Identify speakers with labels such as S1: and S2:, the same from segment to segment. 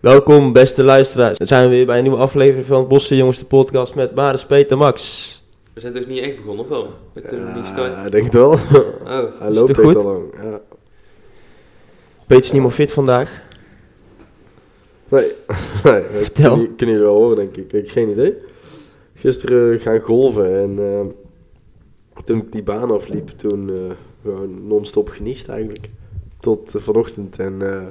S1: Welkom, beste luisteraars. Dan zijn we weer bij een nieuwe aflevering van Bosse Jongens, de podcast met Maris, Peter, Max.
S2: We zijn toch niet echt begonnen, of wel? We hebben nog niet
S3: Ja,
S2: gestart.
S3: ik Ah, denk het wel.
S2: Oh,
S3: Hij loopt
S1: het
S3: echt
S1: goed?
S3: al lang. Ja.
S1: Peter is niet meer fit vandaag.
S3: Nee, nee dat
S1: Vertel.
S3: Kunnen, kunnen jullie wel horen, denk ik. Ik heb geen idee. Gisteren eh, gaan golven en eh, toen ik die baan afliep, toen eh, gewoon non-stop geniest eigenlijk. Tot eh, vanochtend en eh,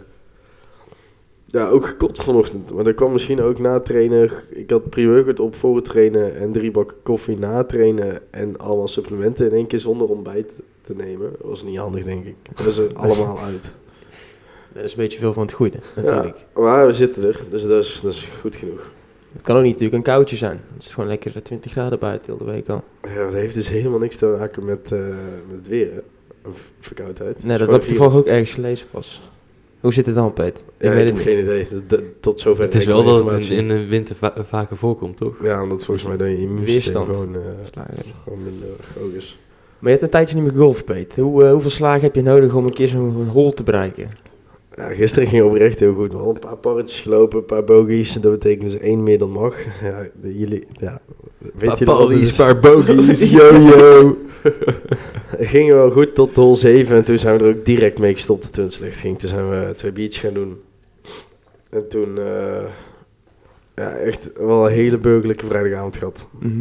S3: ja, ook gekotst vanochtend. Maar dat kwam misschien ook na het trainen. Ik had pre-workout op voor het trainen en drie bakken koffie na het trainen en allemaal supplementen in één keer zonder ontbijt te nemen. Dat was niet handig, denk ik. Dat is er allemaal uit.
S1: Dat is een beetje veel van het goede, natuurlijk.
S3: Ja, maar we zitten er, dus dat is, dat is goed genoeg.
S1: Het kan ook niet natuurlijk een koudje zijn. Het is gewoon lekker eh, 20 graden buiten heel de week al.
S3: Ja, maar dat heeft dus helemaal niks te maken met, eh, met het weer, hè. Of verkoudheid.
S1: Nee, dat
S3: Gewoon
S1: heb ik toevallig ook ergens gelezen pas. Hoe zit het dan, Peter? Ik
S3: Ja, ik
S1: weet
S3: heb
S1: het niet.
S3: geen idee. Dat- dat- tot zover.
S2: het is
S3: heb ik
S2: wel
S3: mijn
S2: dat het in,
S3: informatie.
S2: in de winter va- vaker voorkomt, toch?
S3: Ja, omdat volgens mij de immuunsysteem
S1: Weerstand.
S3: gewoon, eh,
S1: Slagen.
S3: gewoon minder hoog is.
S1: Maar je hebt een tijdje niet meer golf, Peter. Hoe, eh, hoeveel slagen heb je nodig om een keer zo'n hol te bereiken?
S3: Ja, gisteren ging oprecht heel goed. Wel een paar parretjes gelopen, een paar bogies. Dat betekent dus één meer dan mag. Ja, de- jullie, ja. Weet je
S2: paar bogies.
S3: Yo, yo. Het ging wel goed tot hol 7 en toen zijn we er ook direct mee gestopt toen het slecht ging. Toen zijn we twee biertjes gaan doen. En toen, eh, ja, echt wel een hele burgerlijke vrijdagavond gehad.
S1: Mhm.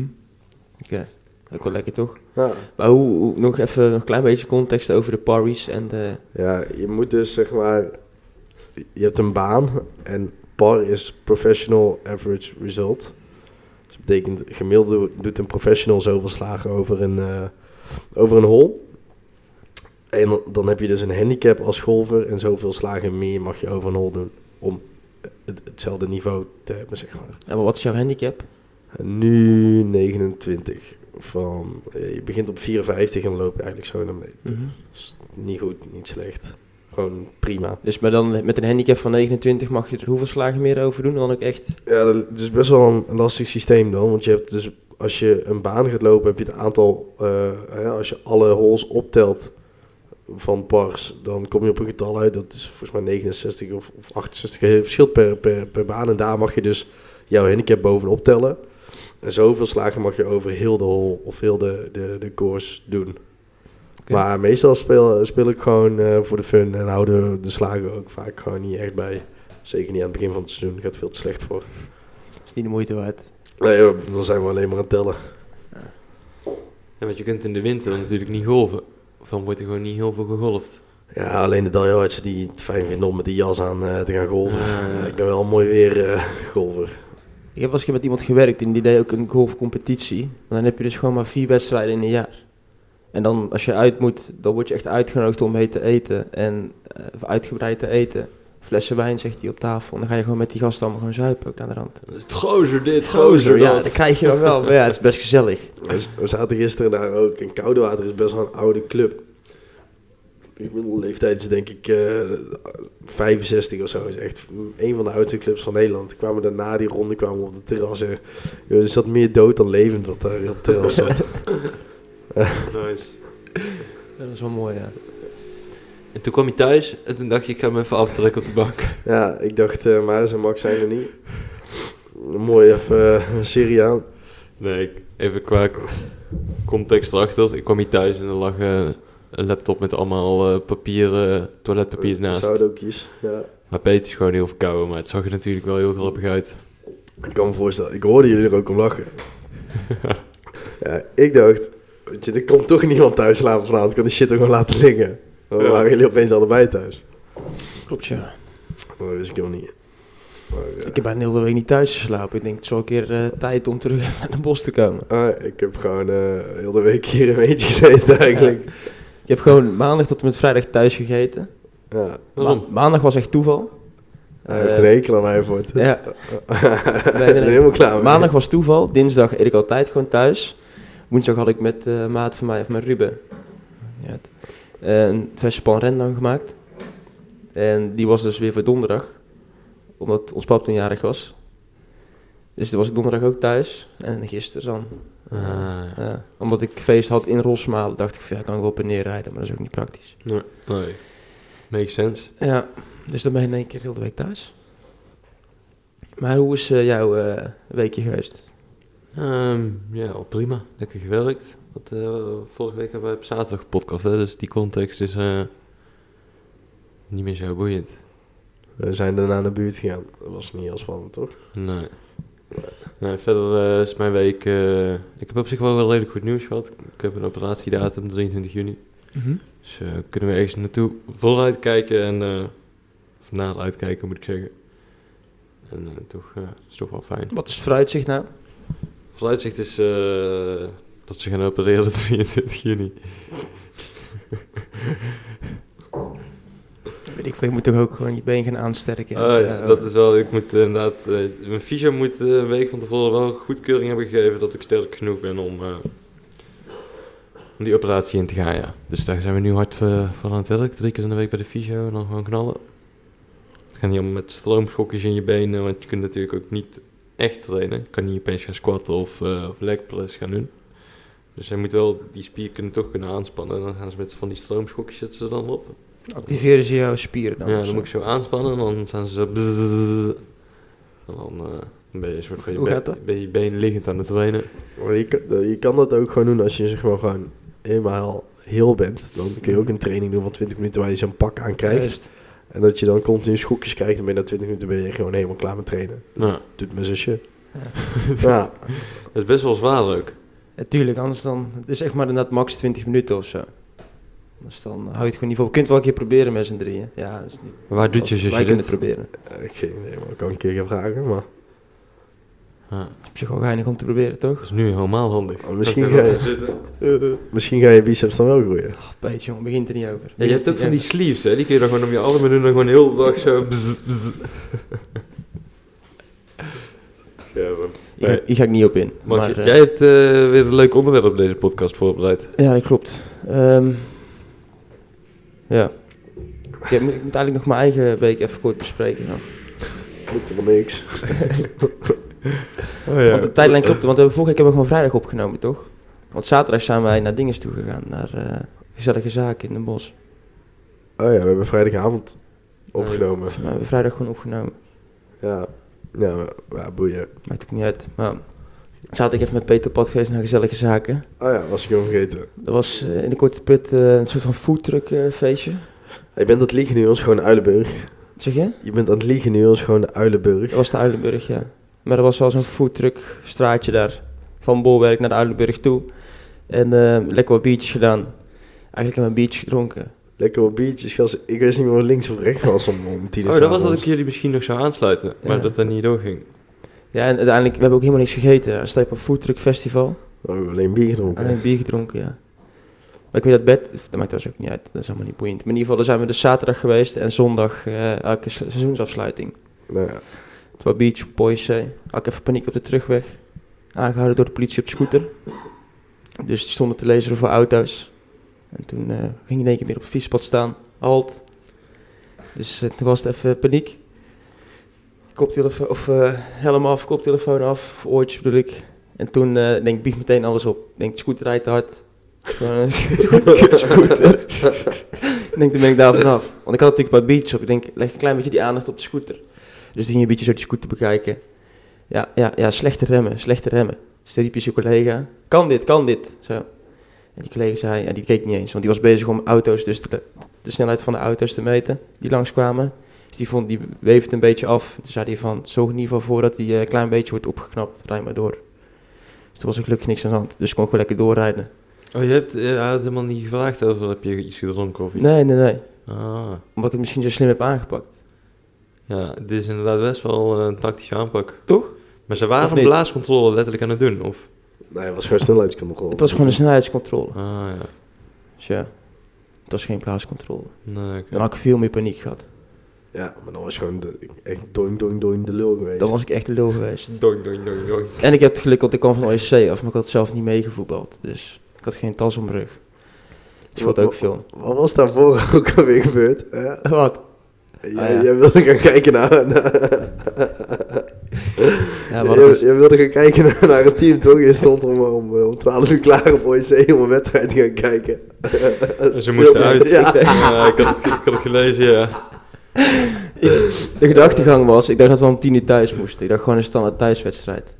S1: Oké, ook wel lekker toch?
S3: Ja.
S1: Maar hoe, hoe- nog even een klein beetje context over de parries en de...
S3: ja, je moet dus zeg maar, je hebt een baan en par is professional average result. Dus dat betekent gemiddeld doet een professional zoveel slagen over een, eh, over een hol. En dan- dan heb je dus een handicap als golfer en zoveel slagen meer mag je over een hol doen om het, hetzelfde niveau te hebben, zeg maar.
S1: Ja, maar wat is jouw handicap?
S3: En nu 29. Van, eh, je begint op 54 en loopt eigenlijk zo naar beneden.
S1: Mhm.
S3: Dus niet goed, niet slecht. Gewoon prima.
S1: Dus maar dan met een handicap van 29 mag je er hoeveel slagen meer over doen? Dan ook echt...
S3: Ja, dat het is best wel een lastig systeem dan. Want je hebt dus, als je een baan gaat lopen, heb je het aantal, eh, hè, als je alle holes optelt van pars, dan kom je op een getal uit. Dat is volgens mij 69 of, of 68. Het verschilt per, per, per baan. En daar mag je dus jouw handicap bovenop tellen. En zoveel slagen mag je over heel de hole of heel de, de, de course doen.
S1: Oké.
S3: Maar meestal speel, speel ik gewoon eh, voor de fun en houden de slagen ook vaak gewoon niet echt bij. Zeker niet aan het begin van het seizoen, gaat veel te slecht voor.
S1: is niet de moeite waard.
S3: Nee, joh, dan zijn we alleen maar aan het tellen.
S2: Ja, want je kunt in de winter dan natuurlijk niet golven. Of dan wordt er gewoon niet heel veel gegolfd.
S3: Ja, alleen de daljarts die het fijn vinden om met die jas aan eh, te gaan golven.
S2: Ah, ja.
S3: Ja, ik ben wel mooi weer eh, golfer.
S1: Ik heb wel eens een keer met iemand gewerkt en die deed ook een golfcompetitie. En dan heb je dus gewoon maar vier wedstrijden in een jaar. En dan als je uit moet, dan word je echt uitgenodigd om mee te eten. En eh, of uitgebreid te eten. Flessen wijn, zegt hij op tafel. En dan ga je gewoon met die gasten allemaal gewoon zuipen ook aan de rand.
S2: Dat is het gozer dit, gozer
S1: ja,
S2: dat.
S1: dat krijg je dan wel. Maar ja, het is best gezellig.
S3: We- We zaten gisteren daar ook. En Koudewater is best wel een oude club. De gemiddelde leeftijd is denk ik eh, 65 of zo. is echt een van de oudste clubs van Nederland. Kwamen daarna die ronde, kwamen we op de terrassen. Joh, er zat meer dood dan levend wat daar op het terras zat.
S2: Nice.
S1: Dat is wel mooi, ja.
S2: En toen kwam je thuis en toen dacht je, ik ga me even aftrekken op de bank.
S3: Ja, ik dacht, eh Maris en Max zijn er niet. Mooi even eh, een serie aan.
S2: Nee, ik- even qua context erachter. Ik kwam hier thuis en er lag eh, een laptop met allemaal eh, papieren, toiletpapier naast.
S3: Zoudookjes, Eh, ja.
S2: Maar Peter is gewoon heel verkouden, maar het zag er natuurlijk wel heel grappig uit.
S3: Ik kan me voorstellen, ik hoorde jullie er ook om lachen. ja, ik dacht, weet je, er komt toch niemand thuis slapen vanavond. Ik kan die shit ook gewoon laten liggen. Dan
S2: Ja.
S3: waren jullie opeens allebei thuis.
S1: Klopt, ja.
S3: Maar dat wist ik helemaal niet. Maar, eh, ja.
S1: Ik heb bijna heel de week niet thuis geslapen. Ik denk, het is wel een keer eh, tijd om terug naar de bos te komen.
S3: Ah, ik heb gewoon eh, heel de week hier een beetje gezeten eigenlijk.
S1: Ik heb gewoon maandag tot en met vrijdag thuis gegeten.
S3: Ja.
S2: Waarom?
S1: Ma- maandag was echt toeval.
S3: Hij
S1: Eh,
S3: heeft een hekel aan mij voor het.
S1: ja.
S3: Ik ben er helemaal klaar mee.
S1: Maandag was toeval. Dinsdag eet ik altijd gewoon thuis. Woensdag had ik met eh, een maat van mij, of met Ruben, ja, het- een verse panrendan gemaakt. En die was dus weer voor donderdag. Omdat ons pap toen jarig was. Dus toen was ik donderdag ook thuis. En gisteren dan.
S2: Ah.
S1: Ja, omdat ik feest had in Rosmalen, dacht ik van ja, kan ik wel op en neer rijden, maar dat is ook niet praktisch.
S2: Nee. nee. Makes sense.
S1: Ja, dus dan ben je in één keer heel de week thuis. Maar hoe is eh, jouw eh, weekje geweest?
S2: Ehm, ja, al prima. Lekker gewerkt. Wat, eh, vorige week hebben we op zaterdag gepodcast, hè, dus die context is eh, niet meer zo boeiend.
S3: We zijn daarna naar de buurt gegaan. Dat was niet heel spannend, toch?
S2: Nee. Nee, verder eh, is mijn week... eh, ik heb op zich wel wel redelijk goed nieuws gehad. Ik heb een operatiedatum, 23 juni. Dus eh, kunnen we ergens naartoe vooruit kijken en... eh of naar uitkijken, moet ik zeggen. En eh, toch, eh, is toch wel fijn.
S1: Wat is het vooruitzicht nou?
S2: Vooruitzicht is eh, dat ze gaan opereren 23 juni.
S1: Weet ik veel, je moet toch ook gewoon je been gaan aansterken?
S2: Ah, ja, dat is wel, ik moet inderdaad, eh, mijn fysio moet eh, een week van tevoren wel goedkeuring hebben gegeven dat ik sterk genoeg ben om, eh, om die operatie in te gaan, ja. Dus daar zijn we nu hard eh, voor aan het werk, drie keer in de week bij de fysio en dan gewoon knallen. Het gaat niet om met stroomschokjes in je benen, want je kunt natuurlijk ook niet echt trainen. Je kan niet opeens gaan squatten of, eh of leg press gaan doen. Dus je moet wel die spier kunnen toch kunnen aanspannen en dan gaan ze met van die stroomschokjes zetten ze dan op.
S1: Activeren ze jouw spieren dan?
S2: Ja,
S1: of
S2: dan
S1: zo?
S2: moet ik zo aanspannen en dan staan ze zo... bzzz. En dan eh, dan ben je een soort van je,
S1: Hoe
S2: been-
S1: gaat dat?
S2: ben je been liggend aan het trainen.
S3: Maar je, kan- eh, je kan dat ook gewoon doen als je zeg maar gewoon helemaal heel bent. Dan kun je ook een training doen van 20 minuten waar je zo'n pak aan krijgt.
S1: Juist.
S3: En dat je dan continu schokjes krijgt en ben je na 20 minuten ben je gewoon helemaal klaar met trainen.
S2: Nou,
S3: Doet mijn zusje.
S1: Ja.
S3: Ja,
S2: dat is best wel zwaar ook.
S1: Ja, tuurlijk, anders dan... Het is echt maar inderdaad max 20 minuten of zo. Dus dan hou je het gewoon niet vol. Je kunt het wel een keer proberen met z'n drieën. Ja, dat is niet...
S2: Maar waar doet je
S1: lastig.
S2: zusje
S1: Wij kunnen
S2: dit?
S1: het proberen.
S3: eh, ik geen idee, maar ik kan een keer gaan vragen. Maar
S2: Ja,
S1: Het is op zich wel geinig om te proberen, toch?
S2: dat is nu helemaal handig.
S3: Oh, misschien
S2: Dan kun je
S3: ga
S2: wel
S3: je-
S2: gaan zitten.
S3: misschien gaan je biceps dan wel groeien.
S1: Ach, Peet, jongen, begint er niet over.
S2: Ja, je hebt ook van die
S1: Ja.
S2: sleeves, hè? Die kun je dan gewoon om je armen doen en gewoon heel de dag zo... bzzz, bzzz. Gerben.
S1: Hier ga- Hier ga ik niet op in.
S2: Max,
S1: maar, eh,
S2: jij hebt eh, weer een leuk onderwerp op deze podcast voorbereid.
S1: Ja, dat klopt. Ehm, ja. Ik, heb- ik moet eigenlijk nog mijn eigen week even kort bespreken. Dan.
S3: Moet er wel niks.
S2: Oh
S1: Want de tijdlijn klopt, want we hebben vorige week hebben we gewoon vrijdag opgenomen, toch? Want zaterdag zijn wij naar Dinges toe gegaan, naar eh, Gezellige Zaken in Den Bosch.
S3: Oh ja, we hebben vrijdagavond opgenomen.
S1: Volgens mij hebben we vrijdag gewoon opgenomen.
S3: Ja, ja, maar- ja boeien.
S1: Maakt ook niet uit. Maar zaterdag even met Peter op pad geweest naar Gezellige Zaken.
S3: Oh ja, was ik hem vergeten.
S1: Dat was eh, in de korte put eh, een soort van foodtruck eh, feestje.
S3: Je bent aan het liegen nu, ons gewoon Uilenburg.
S1: Wat zeg je?
S3: Je bent aan het liegen nu, ons gewoon Uilenburg. Oh,
S1: Dat was de Uilenburg, ja. Maar er was wel zo'n foodtruck straatje daar. Van Bolwerk naar de Uilenburg toe. En eh, lekker wat biertjes gedaan. Eigenlijk hebben we een biertje gedronken.
S3: Lekker op biertjes, gast. Ik wist niet meer wat links of rechts was om, om tien uur
S2: Oh, dat was
S3: s'avonds.
S2: dat ik jullie misschien nog zou aansluiten, maar
S1: Ja.
S2: dat dat niet doorging.
S1: Ja, en uiteindelijk, we hebben ook helemaal niks gegeten. Dan sta je op een foodtruck festival.
S3: We hebben alleen bier gedronken.
S1: Alleen bier gedronken, Ah, ja. Maar ik weet dat bed, dat maakt trouwens ook niet uit. Dat is allemaal niet boeiend. Maar in ieder geval, daar zijn we dus zaterdag geweest. En zondag, eh elke se- seizoensafsluiting.
S3: Nou ja,
S1: Terwijl beach, Poise. Had ik even paniek op de terugweg. Aangehouden door de politie op de scooter. Dus die stonden te lezen voor auto's. En toen eh, ging in één keer weer op het fietspad staan. Halt. Dus eh, toen was het even paniek. Koptelefoon, of eh, helm af, koptelefoon af, of oortjes bedoel ik. En toen eh, denk ik, bieg meteen alles op. Ik denk, de scooter rijdt te hard. Gewoon een scooter. ik denk, dan ben ik daar vanaf. Want ik had natuurlijk bij beach op. Ik denk, leg een klein beetje die aandacht op de scooter. Dus die ging een beetje zo die scooter bekijken. Ja, ja, ja, slechte remmen, slechte remmen. Dus toen riep je zijn collega, kan dit, kan dit, zo. En die collega zei, ja, die keek niet eens, want die was bezig om auto's, dus de, de snelheid van de auto's te meten, die langskwamen. Dus die, vond, die weefde een beetje af. Toen zei hij van, zorg in ieder geval voor dat die eh, een klein beetje wordt opgeknapt, rij maar door. Dus toen was er gelukkig niks aan de hand, dus ik kon gewoon lekker doorrijden.
S2: Oh, je hebt, eh, hij had helemaal niet gevraagd over heb je iets gedronken of iets?
S1: Nee, nee, nee,
S2: Ah,
S1: omdat ik het misschien zo slim heb aangepakt.
S2: ja, dit is inderdaad best wel eh, een tactische aanpak.
S1: Toch?
S2: Maar ze waren
S1: Of
S2: een
S1: niet?
S2: blaascontrole letterlijk aan het doen, of?
S3: nee, nou het was gewoon snelheidscontrole.
S1: Het was gewoon een snelheidscontrole.
S2: Ah, ja.
S1: Dus ja, het was geen plaatscontrole.
S2: Nee, oké.
S1: Dan had ik veel meer paniek gehad.
S3: Ja, maar dan was gewoon de, echt doing, doing, doing de lul geweest.
S1: Dan was ik echt de lul geweest.
S2: Doink, doink, doink, doink.
S1: En ik heb het geluk, want ik kwam van OSC af, maar ik had zelf niet meegevoetbald. Dus ik had geen tas om mijn rug. Dat scheelt ook veel.
S3: Wat was daarvoor ook alweer gebeurd? hè?
S1: Wat?
S3: Jij,
S1: Ah, ja.
S3: jij wilde gaan kijken naar... naar
S1: Ja,
S3: jij,
S1: wat dus is...
S3: jij wilde gaan kijken naar, naar het team, toch? Je stond om, om, eh, om 12 uur klaar op OEC om een wedstrijd te gaan kijken.
S1: Dus
S2: Ze moesten uit.
S3: Ja.
S2: Ja, ik, had het, ik had het gelezen, ja.
S1: de gedachtegang was, ik dacht dat we om tien uur thuis moesten. Ik dacht gewoon een standaard thuiswedstrijd.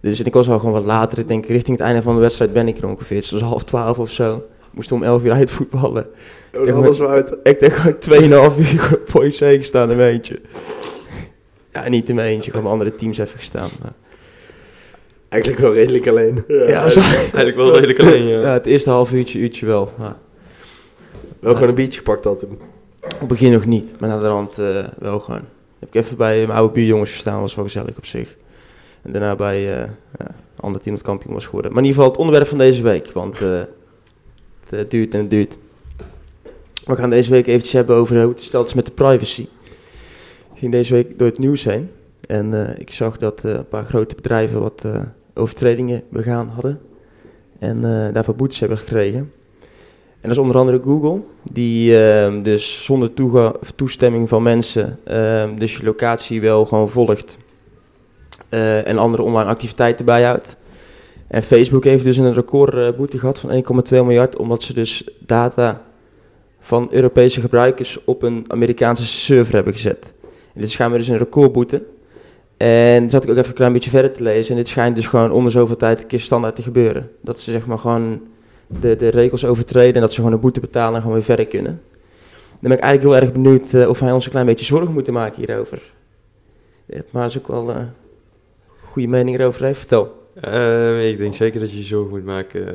S1: Dus en ik was al gewoon wat later. Ik denk richting het einde van de wedstrijd ben ik er ongeveer. Dus het was half twaalf of zo. Moesten om elf uur uit voetballen.
S3: Oh, dan was we uit.
S1: Ik denk gewoon tweeënhalf uur gewoon voor IC gestaan in mijn eentje. Ja, niet in mijn eentje, gewoon met andere teams even gestaan. Maar.
S3: Eigenlijk wel redelijk alleen.
S1: Ja, zo.
S2: Eigenlijk wel redelijk alleen, ja.
S1: Ja, het eerste half uurtje, uurtje wel. Maar
S3: Wel gewoon een biertje gepakt had toen.
S1: op het begin nog niet, maar naar de rand eh, wel gewoon. Heb ik even bij mijn oude buurjongens gestaan, was wel gezellig op zich. En daarna bij eh, ja, een ander team dat kampioen was geworden. Maar in ieder geval het onderwerp van deze week, want eh, het eh, duurt en het duurt. We gaan deze week eventjes hebben over hoe het stelt is met de privacy. Ik ging deze week door het nieuws heen en eh, ik zag dat eh, een paar grote bedrijven wat eh, overtredingen begaan hadden. En eh, daarvoor boetes hebben gekregen. En dat is onder andere Google, die ehm, dus zonder toega- of toestemming van mensen ehm, dus je locatie wel gewoon volgt eh, en andere online activiteiten bijhoudt. En Facebook heeft dus een recordboete gehad van 1,2 miljard, omdat ze dus data van Europese gebruikers op een Amerikaanse server hebben gezet. En dit schijnt dus een recordboete. En toen zat ik ook even een klein beetje verder te lezen. En dit schijnt dus gewoon om de zoveel tijd een keer standaard te gebeuren. Dat ze zeg maar gewoon de, de regels overtreden en dat ze gewoon een boete betalen en gewoon weer verder kunnen. Dan ben ik eigenlijk heel erg benieuwd eh, of wij ons een klein beetje zorgen moeten maken hierover. Eh, Maar is ook wel eh, een goede mening erover heeft. Vertel.
S2: Eh, ik denk zeker dat je je zorgen moet maken eh,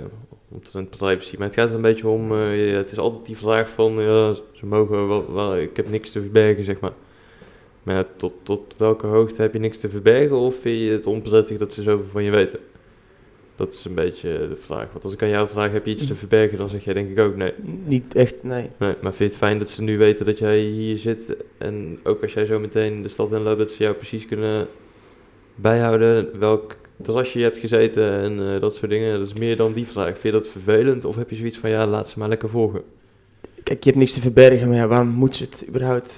S2: omtrent privacy. Maar het gaat er een beetje om, eh, ja, het is altijd die vraag van, ja, ze mogen wel, wel- ik heb niks te verbergen, zeg maar. Maar ja, tot, tot welke hoogte heb je niks te verbergen of vind je het onprettig dat ze zoveel van je weten? Dat is een beetje eh, de vraag. Want als ik aan jou vraag, heb je iets te verbergen, dan zeg jij denk ik ook nee.
S1: Niet echt, nee.
S2: nee. Maar vind je het fijn dat ze nu weten dat jij hier zit en ook als jij zo meteen de stad inloopt, dat ze jou precies kunnen bijhouden welk terrasje je hebt gezeten en eh, dat soort dingen. Dat is meer dan die vraag. Vind je dat vervelend of heb je zoiets van ja, laat ze maar lekker volgen?
S1: Kijk, je hebt niks te verbergen, maar ja, waarom moet ze het überhaupt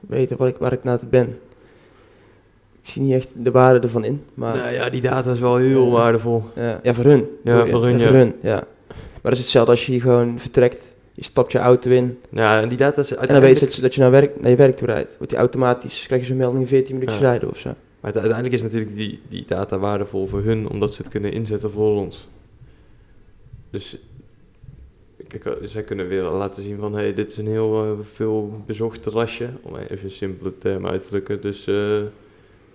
S1: weten waar ik, waar ik naar te ben? Ik zie niet echt de waarde ervan in, maar
S2: nou ja, die data is wel heel
S1: Ja.
S2: waardevol.
S1: ja, ja, voor hun.
S2: Ja, voor hun, ja.
S1: voor hun, ja. Maar het is hetzelfde als je hier gewoon vertrekt, je stapt je auto in,
S2: Ja, en die data is
S1: En dan weet
S2: uiteindelijk...
S1: je dat je, dat je naar, werk, naar je werk toe rijdt. Wordt die automatisch, krijg je zo'n melding 14 minuutjes
S2: Ja.
S1: rijden of zo.
S2: Maar uite- uiteindelijk is natuurlijk die, die data waardevol voor hun, omdat ze het kunnen inzetten voor ons. Dus kijk, eh, zij kunnen weer laten zien van, hé, hey, dit is een heel eh, veel bezocht terrasje, om even een simpele term uit te drukken. Dus eh,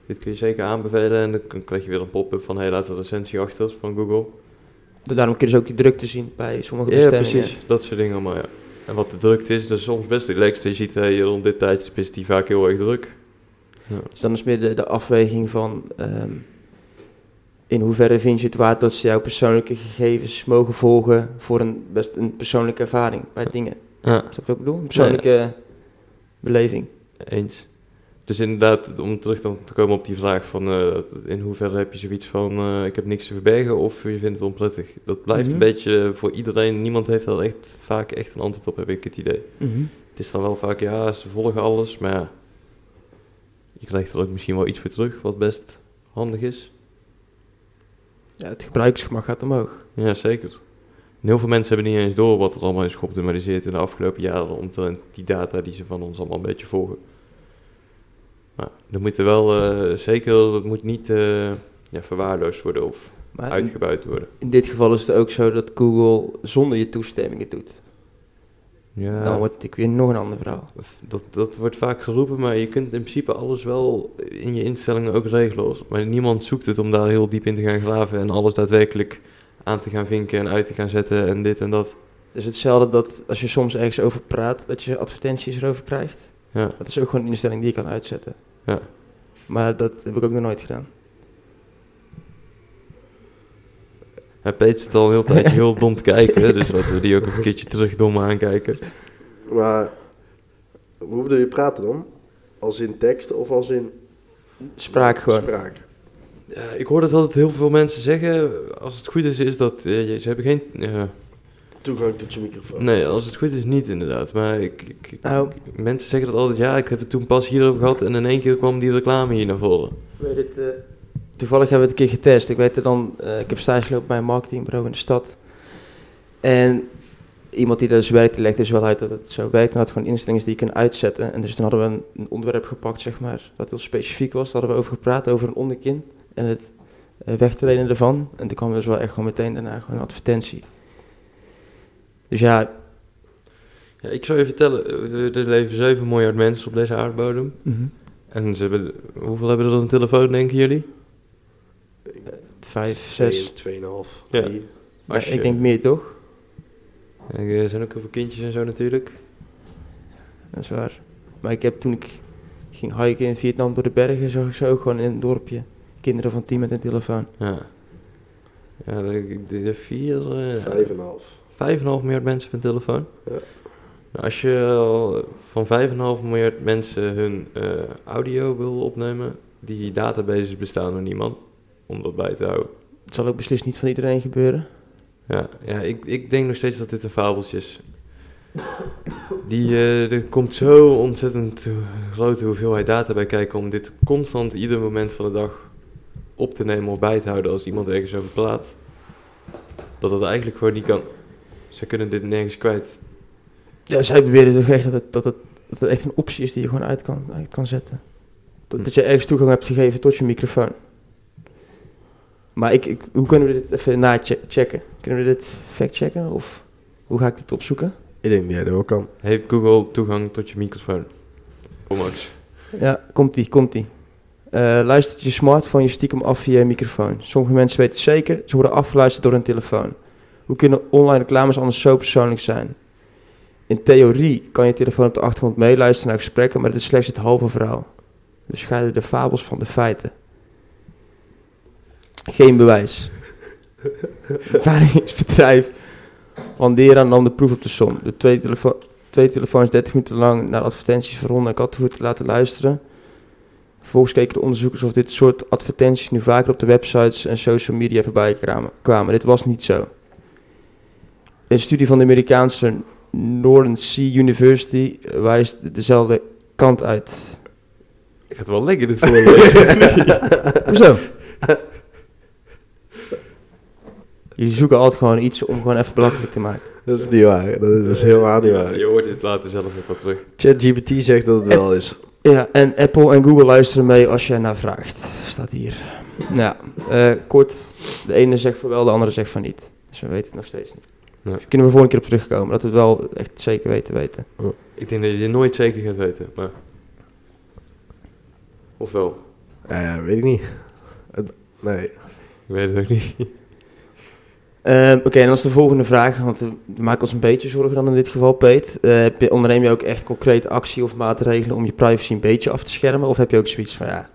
S2: dit kun je zeker aanbevelen en dan k- krijg je weer een pop-up van, hé, hey, laat een recensie achter van Google.
S1: Da- Daarom kun je dus ook die drukte zien bij sommige
S2: Ja,
S1: bestemmingen.
S2: precies, dat soort dingen allemaal, ja. En wat de drukte is, dat is soms best het leukste. Je ziet, hey, rond dit tijdstip is die vaak heel erg druk.
S1: Dus dan is meer de, de afweging van... ehm, in hoeverre vind je het waard dat ze jouw persoonlijke gegevens mogen volgen... voor een best een persoonlijke ervaring bij dingen.
S2: Ja.
S1: Snap je wat ik bedoel? Een persoonlijke beleving.
S2: Eens. Dus inderdaad, om terug dan te komen op die vraag van eh, in hoeverre heb je zoiets van eh, ik heb niks te verbergen of je vindt het onprettig. Dat blijft
S1: Mhm.
S2: een beetje voor iedereen, niemand heeft daar echt vaak echt een antwoord op, heb ik het idee.
S1: Mhm.
S2: Het is dan wel vaak ja, ze volgen alles, maar ja, je krijgt er ook misschien wel iets voor terug, wat best handig is.
S1: Ja, het gebruiksgemak gaat omhoog.
S2: Ja, zeker. En heel veel mensen hebben niet eens door wat er allemaal is geoptimaliseerd in de afgelopen jaren omtrent die data die ze van ons allemaal een beetje volgen. Maar dat moet er wel eh, zeker, dat moet niet eh, ja, verwaarloosd worden of
S1: Maar in,
S2: uitgebuit worden.
S1: in dit geval is het ook zo dat Google zonder je toestemming het doet.
S2: Ja,
S1: Dan wordt het weer nog een ander verhaal.
S2: dat, dat wordt vaak geroepen, maar je kunt in principe alles wel in je instellingen ook regelen. hoor. Maar niemand zoekt het om daar heel diep in te gaan graven en alles daadwerkelijk aan te gaan vinken en uit te gaan zetten en dit en dat.
S1: Dus hetzelfde dat als je soms ergens over praat, dat je advertenties erover krijgt.
S2: Ja.
S1: Dat is ook gewoon een instelling die je kan uitzetten.
S2: Ja.
S1: Maar dat heb ik ook nog nooit gedaan.
S2: Ja, Peet zit al een heel tijdje heel dom te kijken, hè, dus laten we die ook een keertje terug dom aankijken.
S3: Maar hoe bedoel je praten dan? Als in tekst of als in
S1: Spraak gewoon.
S3: spraak?
S2: Eh, ik hoor dat altijd heel veel mensen zeggen, als het goed is, is dat eh, je- ze hebben geen... eh,
S3: Toegang tot je microfoon.
S2: nee, als het goed is niet inderdaad, maar ik, ik- ik-
S1: Nou.
S2: mensen zeggen dat altijd, ja, ik heb het toen pas hierover gehad en in één keer kwam die reclame hier naar voren.
S1: Weet het, eh, toevallig hebben we het een keer getest. Ik weet er dan, eh, ik heb stage gelopen bij een marketingbureau in de stad. En iemand die daar dus werkt, die legt dus wel uit dat het zo werkt. En had gewoon instellingen die je kunt uitzetten. En dus toen hadden we een, een onderwerp gepakt, zeg maar, wat heel specifiek was. Daar hadden we over gepraat, over een onderkin en het eh, wegtrainen ervan. En toen kwam dus wel echt gewoon meteen daarna gewoon een advertentie. Dus ja,
S2: Ja, ik zou je vertellen, eh, er leven 7 miljard mensen op deze aardbodem. En ze hebben, hoeveel hebben er dan een telefoon, denken jullie?
S1: vijf, zes.
S3: 2,5.
S2: Ja.
S3: drie.
S1: Ja,
S2: Als je-
S1: ik denk meer toch?
S2: En Er zijn ook heel veel kindjes en zo natuurlijk.
S1: Dat is waar. Maar ik heb toen ik ging hiken in Vietnam door de bergen, zag ik ze ook gewoon in een dorpje. Kinderen van tien met een telefoon.
S2: Ja. Ja, de, de, de vier... eh,
S3: 5,5.
S2: 5,5 miljard mensen met een telefoon.
S3: Ja.
S2: Nou, als je al van 5,5 miljard mensen hun eh, audio wil opnemen, die databases bestaan door niemand om dat bij te houden.
S1: Het zal ook beslist niet van iedereen gebeuren.
S2: Ja, ja ik, ik denk nog steeds dat dit een fabeltje is. Die, eh, er komt zo ontzettend grote hoeveelheid data bij kijken om dit constant ieder moment van de dag op te nemen of bij te houden als iemand ergens over praat. Dat dat eigenlijk gewoon niet kan. Ze kunnen dit nergens kwijt.
S1: Ja, zij beweren toch echt dat het, dat, het, dat het echt een optie is die je gewoon uit kan, uit kan zetten. Dat, dat je ergens toegang hebt gegeven tot je microfoon. Maar ik, ik, hoe kunnen we dit even na-checken? Kunnen we dit fact-checken? Of hoe ga ik dit opzoeken?
S3: Ik denk dat jij dat wel kan.
S2: Heeft Google toegang tot je microfoon? Kom Max.
S1: Ja, komt-ie, komt-ie. Eh, luistert je smartphone je stiekem af via je microfoon? Sommige mensen weten het zeker, ze worden afgeluisterd door hun telefoon. Hoe kunnen online reclames anders zo persoonlijk zijn? In theorie kan je telefoon op de achtergrond meeluisteren naar gesprekken, maar dit is slechts het halve verhaal. We scheiden de fabels van de feiten. Geen bewijs. Ervaringsbedrijf. Wandera nam de proef op de som. De twee, telefo twee telefoons 30 minuten lang naar advertenties van honden en kattenvoer te laten luisteren. Vervolgens keken de onderzoekers of dit soort advertenties nu vaker op de websites en social media voorbij kramen- kwamen. Dit was niet zo. Een studie van de Amerikaanse Northern Sea University wijst dezelfde kant uit.
S2: Ik ga het wel lekker dit voorlezen.
S1: Hoezo? Jullie zoeken altijd gewoon iets om gewoon even belachelijk te maken.
S3: Dat is niet waar. Dat is, helemaal niet
S2: ja,
S3: waar.
S2: je hoort dit later zelf nog wat terug.
S3: ChatGPT zegt dat het wel is.
S1: Ja, en Apple en Google luisteren mee als je naar vraagt. Staat hier. Nou, ja, eh, kort. De ene zegt van wel, de andere zegt van niet. Dus we weten het nog steeds niet.
S2: Nee.
S1: Dus kunnen we volgende keer op terugkomen. Dat we het wel echt zeker weten weten.
S2: Ik denk dat je dit nooit zeker gaat weten, maar... Ofwel.
S3: Eh, weet ik niet. Het- nee.
S2: Ik weet het ook niet.
S1: Ehm, Oké, en als de volgende vraag, want we maken ons een beetje zorgen dan in dit geval, Peet. Eh, heb je- onderneem je ook echt concreet actie of maatregelen om je privacy een beetje af te schermen? Of heb je ook zoiets van, ja,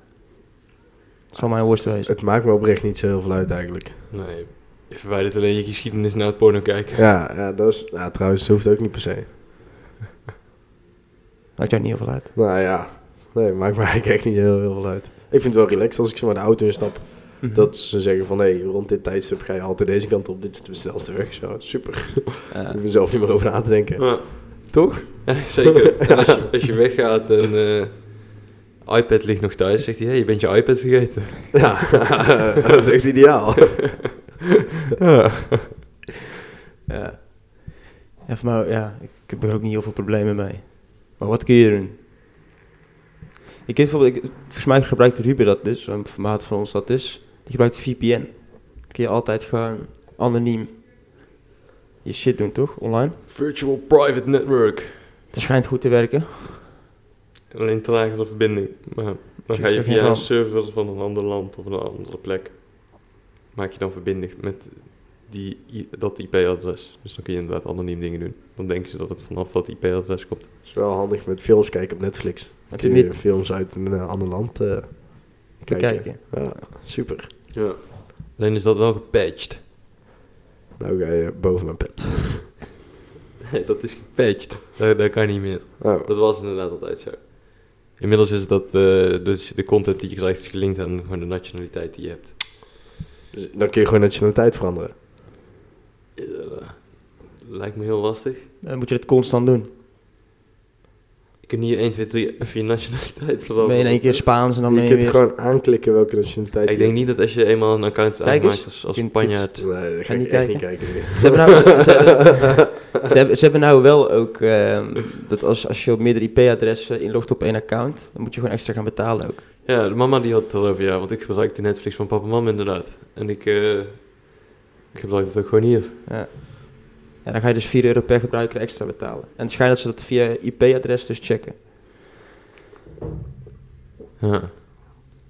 S1: het zal mijn worst wezen?
S3: Het maakt me oprecht niet zo heel veel uit eigenlijk.
S2: Nee, je verwijdert alleen je geschiedenis naar het porno kijken.
S3: Ja, ja dat is... Nou, trouwens, dat hoeft ook niet per se.
S1: Maakt jou niet heel veel uit.
S3: Nou ja. Nee, maakt me eigenlijk echt niet heel, heel veel uit. Ik vind het wel relaxed als ik zo maar de auto instap. Dat ze zeggen van, hé, rond dit tijdstip ga je altijd deze kant op. Dit is de snelste weg. Zo, super.
S1: Eh,
S3: Ik ben zelf niet meer over na te denken.
S2: Ja.
S3: Toch?
S2: Ja, zeker. En als, je, als je weggaat en eh, iPad ligt nog thuis, zegt hij, hé, hey, je bent je iPad vergeten.
S3: Ja, dat is echt ideaal.
S1: Ja. Ja, voor mij, ja, ik heb er ook niet heel veel problemen mee. Maar wat kun je doen? Ik weet bijvoorbeeld, ik, volgens mij gebruikt Ruben dat dus, zo'n formaat van ons dat is. Die gebruikt VPN. Kun je altijd gewoon anoniem je shit doen, toch? Online.
S2: Virtual Private Network.
S1: Het schijnt goed te werken.
S2: Alleen te lage de verbinding. Maar dan
S1: Dus
S2: ga je
S1: toch geen
S2: via een
S1: ramp?
S2: server van een ander land of een andere plek. Maak je dan verbinding met die, i- dat IP-adres. Dus dan kun je inderdaad anoniem dingen doen. Dan denken ze dat het vanaf dat IP-adres komt.
S3: Het is wel handig met films kijken op Netflix.
S1: Heb je
S3: kun
S1: meer
S3: je films uit een eh, ander land eh,
S1: te
S3: kijken.
S1: kijken.
S3: Ja, super.
S2: Ja. Alleen is dat wel gepatcht.
S3: Nou ga je boven mijn pet.
S2: Nee, dat is gepatcht. Daar, daar kan je niet meer.
S3: Oh,
S2: Dat was inderdaad altijd zo. Inmiddels is dat eh, dus de content die je krijgt is gelinkt aan gewoon de nationaliteit die je hebt.
S3: dus dan kun je gewoon nationaliteit veranderen.
S2: Eh, lijkt me heel lastig.
S1: Dan moet je dat constant doen.
S2: Ik kan hier 1, 2, 3 even je nationaliteit
S1: Dan
S2: veranderen.
S1: ben je in één keer Spaans en dan ben
S3: je
S1: je
S3: kunt
S1: weer...
S3: gewoon aanklikken welke nationaliteit
S2: Ik denk niet dat als je eenmaal een account
S1: Kijk eens.
S2: aanmaakt als, als
S1: Kind-
S2: Spanjaard...
S3: Nee, dat ga
S1: Ga
S3: ik
S1: niet
S3: echt niet kijken.
S1: Ze hebben nou... ze- ze- Ze hebben, ze hebben nou wel ook ehm, dat als, als je op meerdere IP-adressen inlogt op één account, dan moet je gewoon extra gaan betalen ook.
S2: Ja, de mama die had het al over, ja, want ik gebruik de Netflix van papa en mam inderdaad. En ik, eh, ik gebruik dat ook gewoon hier.
S1: Ja. En dan ga je dus 4 euro per gebruiker extra betalen. En het schijnt dat ze dat via IP-adres dus checken.
S2: Ja.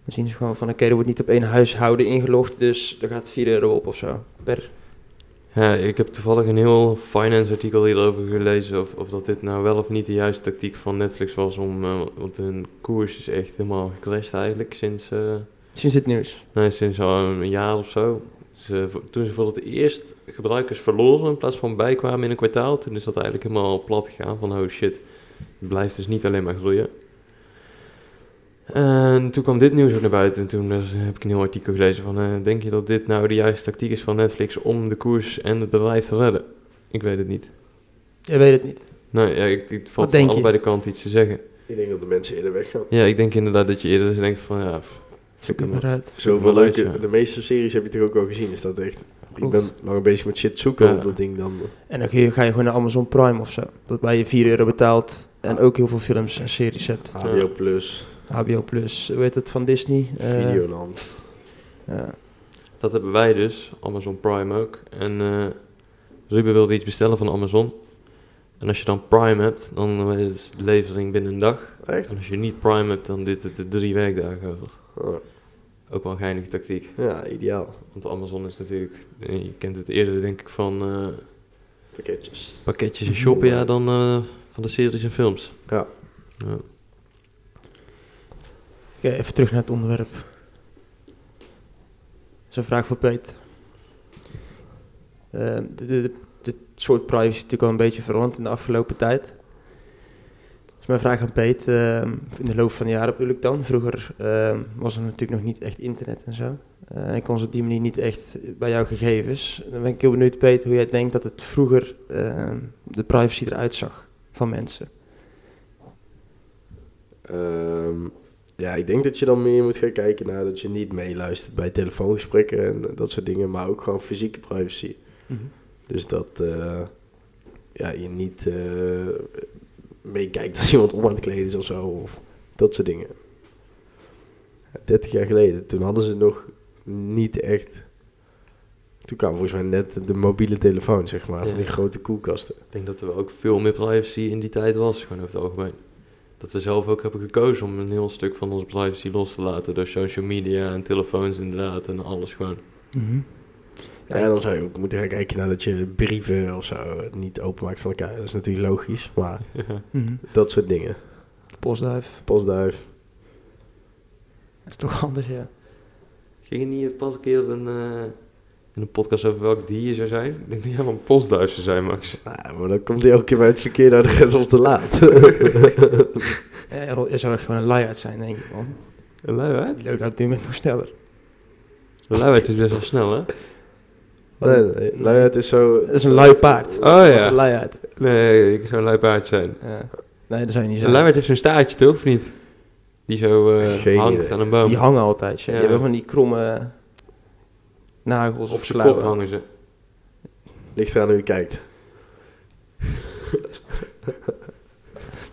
S1: Dan zien ze gewoon van, oké, er wordt niet op één huishouden ingelogd, dus er gaat 4 euro op of zo. Per.
S2: ja, ik heb toevallig een heel finance artikel hierover gelezen of, of dat dit nou wel of niet de juiste tactiek van Netflix was om, eh, want hun koers is echt helemaal gecrashed eigenlijk sinds... eh,
S1: Sinds dit nieuws.
S2: Nee, sinds al een jaar of zo. Ze, toen ze voor het eerst gebruikers verloren in plaats van bijkwamen in een kwartaal, toen is dat eigenlijk helemaal plat gegaan van oh shit, het blijft dus niet alleen maar groeien. En toen kwam dit nieuws ook naar buiten en toen was- heb ik een heel artikel gelezen van eh, denk je dat dit nou de juiste tactiek is van Netflix om de koers en het bedrijf te redden? Ik weet het niet.
S1: Je weet het niet.
S2: Nou ja, ik, ik valt
S1: denk
S2: van
S1: je?
S2: allebei de kanten iets te zeggen.
S3: Ik denk dat de mensen eerder weggaan.
S2: Ja, ik denk inderdaad dat je eerder denkt van ja, pff,
S1: Zoek het
S2: maar.
S1: maar uit.
S3: Zoveel
S2: Leuk,
S3: leuke,
S2: ja.
S3: de meeste series heb je toch ook al gezien, is dat echt...
S1: Klopt.
S3: Ik ben langer bezig met shit zoeken
S2: Ja.
S3: op dat ding dan...
S1: En dan ga je, ga je gewoon naar Amazon Prime of zo. Dat waar je 4 euro betaalt en ook heel veel films en series hebt.
S3: HBO Plus,
S1: HBO Plus, hoe heet het van Disney? Eh,
S3: Videoland.
S1: ja.
S2: Dat hebben wij dus, Amazon Prime ook. En eh Ruben wilde iets bestellen van Amazon. En als je dan Prime hebt, dan is de levering binnen een dag.
S3: Echt?
S2: En als je niet Prime hebt, dan duurt het er drie werkdagen over.
S3: Oh,
S2: Ook wel een geinige tactiek.
S3: ja, ideaal.
S2: Want Amazon is natuurlijk, eh, je kent het eerder denk ik van eh,
S3: Pakketjes.
S2: pakketjes en shoppen ja, dan eh, van de series en films.
S3: Ja.
S2: Ja.
S1: Oké, eh, even terug naar het onderwerp. Dat is een vraag voor Peet. Eh, de, de, de soort privacy is natuurlijk al een beetje veranderd in de afgelopen tijd. Dus mijn vraag aan Peet, eh, in de loop van de jaren bedoel ik dan. Vroeger eh, was er natuurlijk nog niet echt internet en zo. Eh en kon ze op die manier niet echt bij jouw gegevens. Dan ben ik heel benieuwd, Peet, hoe jij denkt dat het vroeger eh, de privacy eruit zag van mensen.
S3: Ehm, ja, ik denk dat je dan meer moet gaan kijken naar dat je niet meeluistert bij telefoongesprekken en dat soort dingen, maar ook gewoon fysieke privacy.
S1: Mhm.
S3: Dus dat eh, ja, je niet eh, meekijkt als iemand om aan het kleden is of zo, of dat soort dingen. 30 jaar geleden, toen hadden ze nog niet echt. Toen kwamen volgens mij net de mobiele telefoon, zeg maar,
S2: Ja.
S3: van die grote koelkasten.
S2: Ik denk dat er ook veel meer privacy in die tijd was, gewoon over het algemeen. Dat we zelf ook hebben gekozen om een heel stuk van onze privacy los te laten door social media en telefoons inderdaad en alles gewoon.
S1: Mhm.
S3: Ja, en dan zou je ook moeten gaan kijken naar dat je brieven of zo niet openmaakt van elkaar. Dat is natuurlijk logisch, maar
S1: Mhm.
S3: dat soort dingen.
S1: Postduif.
S3: Postduif.
S1: Dat is toch anders, ja.
S2: Ging je niet pas een keer een, eh, in een podcast over welk dier je zou zijn? Ik denk dat jij wel een postduif zou zijn, Max.
S3: Nou, maar dan komt hij elke keer bij het verkeerde adres of te laat.
S1: Ja, Eh, Ro- je zou echt gewoon een luiaard zijn, denk ik, man.
S2: Een luiheid?
S1: Die loopt op dit moment nog sneller.
S2: Een luiheid is best wel snel, hè?
S3: nee, nee, nou ja, het is zo...
S1: Dat is een lui paard.
S2: Oh
S1: Een
S2: ja.
S1: luiaard.
S2: Nee, ik zou een luipaard zijn.
S1: Ja. Nee, dat zou je niet
S2: Een
S1: zijn.
S2: luipaard heeft zo'n staartje, toch? Of niet? Die zo eh,
S3: Geen
S2: hangt
S3: idee.
S2: aan een boom.
S1: Die hangen altijd, ja.
S2: Ja.
S1: Je hebt van die kromme nagels
S2: Op
S1: of
S2: zijn kop
S1: klauwen.
S2: hangen ze.
S3: Ligt eraan hoe je kijkt.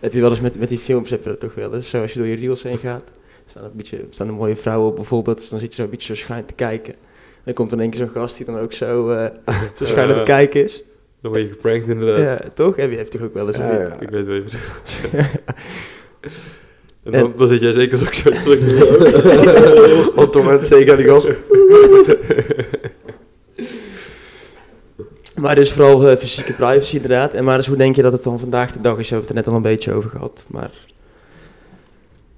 S1: Heb je wel eens met, met die films, heb je dat toch wel eens? Zo, als je door je reels heen gaat, staan, een beetje, staan een mooie vrouwen op bijvoorbeeld. Dus dan zit je zo een beetje zo schuin te kijken. En dan komt dan één keer zo'n gast die dan ook zo, eh zo schuin aan
S2: Ja.
S1: het kijken is.
S2: Dan word je geprankt inderdaad.
S1: Ja, toch? Heb je heeft toch ook wel eens
S3: Ja,
S1: een-
S3: ja.
S2: Ik weet wel even. En
S1: En-
S2: dan, dan zit jij zeker ook zo terug.
S3: Want Tom Hens steek aan die gas.
S1: Maar dus vooral eh, fysieke privacy inderdaad. En maar dus hoe denk je dat het dan vandaag de dag is? We hebben het er net al een beetje over gehad. Maar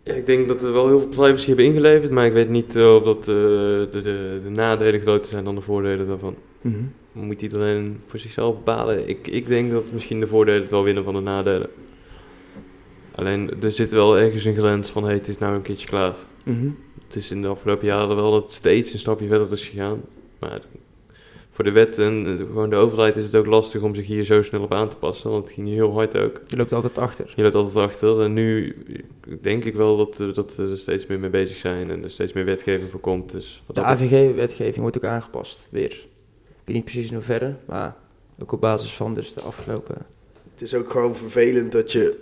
S2: Ja, ik denk dat we wel heel veel privacy hebben ingeleverd, maar ik weet niet eh, of dat eh, de, de, de nadelen groter zijn dan de voordelen daarvan.
S1: Mhm,
S2: Moet iedereen voor zichzelf bepalen. Ik, ik denk dat misschien de voordelen het wel winnen van de nadelen. Alleen er zit wel ergens een grens van hey, het is nou een keertje klaar.
S1: Mhm.
S2: Het is in de afgelopen jaren wel dat het steeds een stapje verder is gegaan. Maar voor de wet en eh, gewoon de overheid is het ook lastig om zich hier zo snel op aan te passen, want het ging heel hard ook.
S1: je loopt altijd achter.
S2: Je loopt altijd achter. En nu denk ik wel dat, eh, dat we er steeds meer mee bezig zijn en er steeds meer wetgeving voor komt. Dus wat
S1: De
S2: dat-
S1: AVG-wetgeving wordt ook aangepast, weer. Ik weet niet precies in hoeverre, maar Ook op basis van dus de afgelopen...
S3: Het is ook gewoon vervelend dat je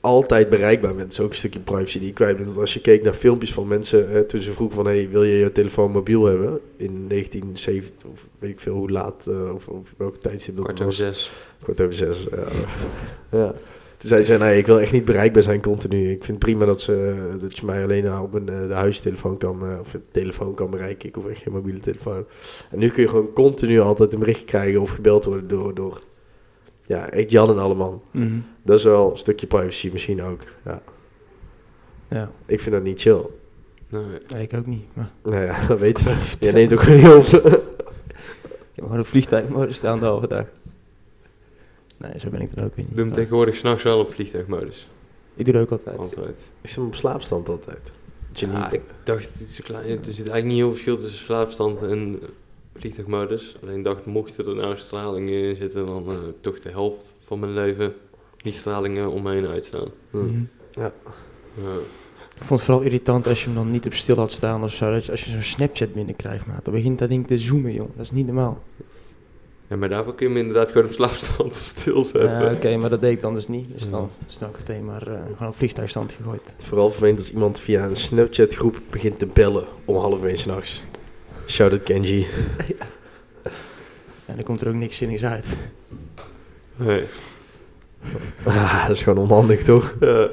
S3: altijd bereikbaar bent. Dat is ook een stukje privacy die je kwijt bent. Want als je keek naar filmpjes van mensen hè, toen ze vroegen van... Hey, wil je je telefoon mobiel hebben? In 1970 of weet ik veel hoe laat eh, of, of welke tijdstip dat
S2: Kwart over
S3: was.
S2: zes.
S3: Kwart over zes. Ja. ja. eh, Toen zei ze, nee, ik wil echt niet bereikbaar zijn continu. Ik vind het prima dat, ze, eh, dat je mij alleen op mijn eh, de huistelefoon kan, eh, of de telefoon kan bereiken. Ik hoef echt geen mobiele telefoon. En nu kun je gewoon continu altijd een bericht krijgen of gebeld worden door, door ja, echt Jan en allemaal.
S1: Mhm.
S3: Dat is wel een stukje privacy misschien ook. Ja.
S1: Ja,
S3: Ik vind dat niet chill.
S2: Nee.
S1: nee, ik ook niet. Maar
S3: Nou ja, dat weten we. Je neemt ook weer niet op.
S1: ik heb gewoon op vliegtuigmodus staan de halve dag. Nee, zo ben ik er ook weer
S2: Ik
S1: niet.
S2: doe hem tegenwoordig s'nachts wel op vliegtuigmodus. eh,
S1: Ik doe dat ook altijd.
S2: Altijd.
S3: Ik zit op slaapstand altijd. Dat je
S2: Ja,
S3: niet-
S2: ik dacht, het is zo klein. Er zit eigenlijk niet heel veel verschil tussen slaapstand en vliegtuigmodus. Alleen dacht, mocht er nou stralingen in zitten, dan eh, toch de helft van mijn leven die stralingen om me heen uitstaan.
S3: Hm.
S1: Mhm.
S2: Ja.
S1: Ik vond het vooral irritant als je hem dan niet op stil had staan of zo. Dat je- als je zo'n Snapchat binnenkrijgt, maat. Dan begint dat ding te zoomen, joh. Dat is niet normaal.
S2: Ja, maar daarvoor kun je hem inderdaad gewoon op slaapstand
S1: Ja,
S2: stilzetten.
S1: Oké, maar dat deed ik dan dus niet. Dus dan
S2: Ja.
S1: is het ook meteen maar eh, gewoon op vliegtuigstand gegooid.
S3: Vooral vervelend als iemand via een Snapchat groep begint te bellen om half één s'nachts. Shout out Kenji.
S1: En dan komt er ook niks zinnigs uit.
S2: Nee.
S3: Ah, dat is gewoon onhandig toch?
S2: Ja.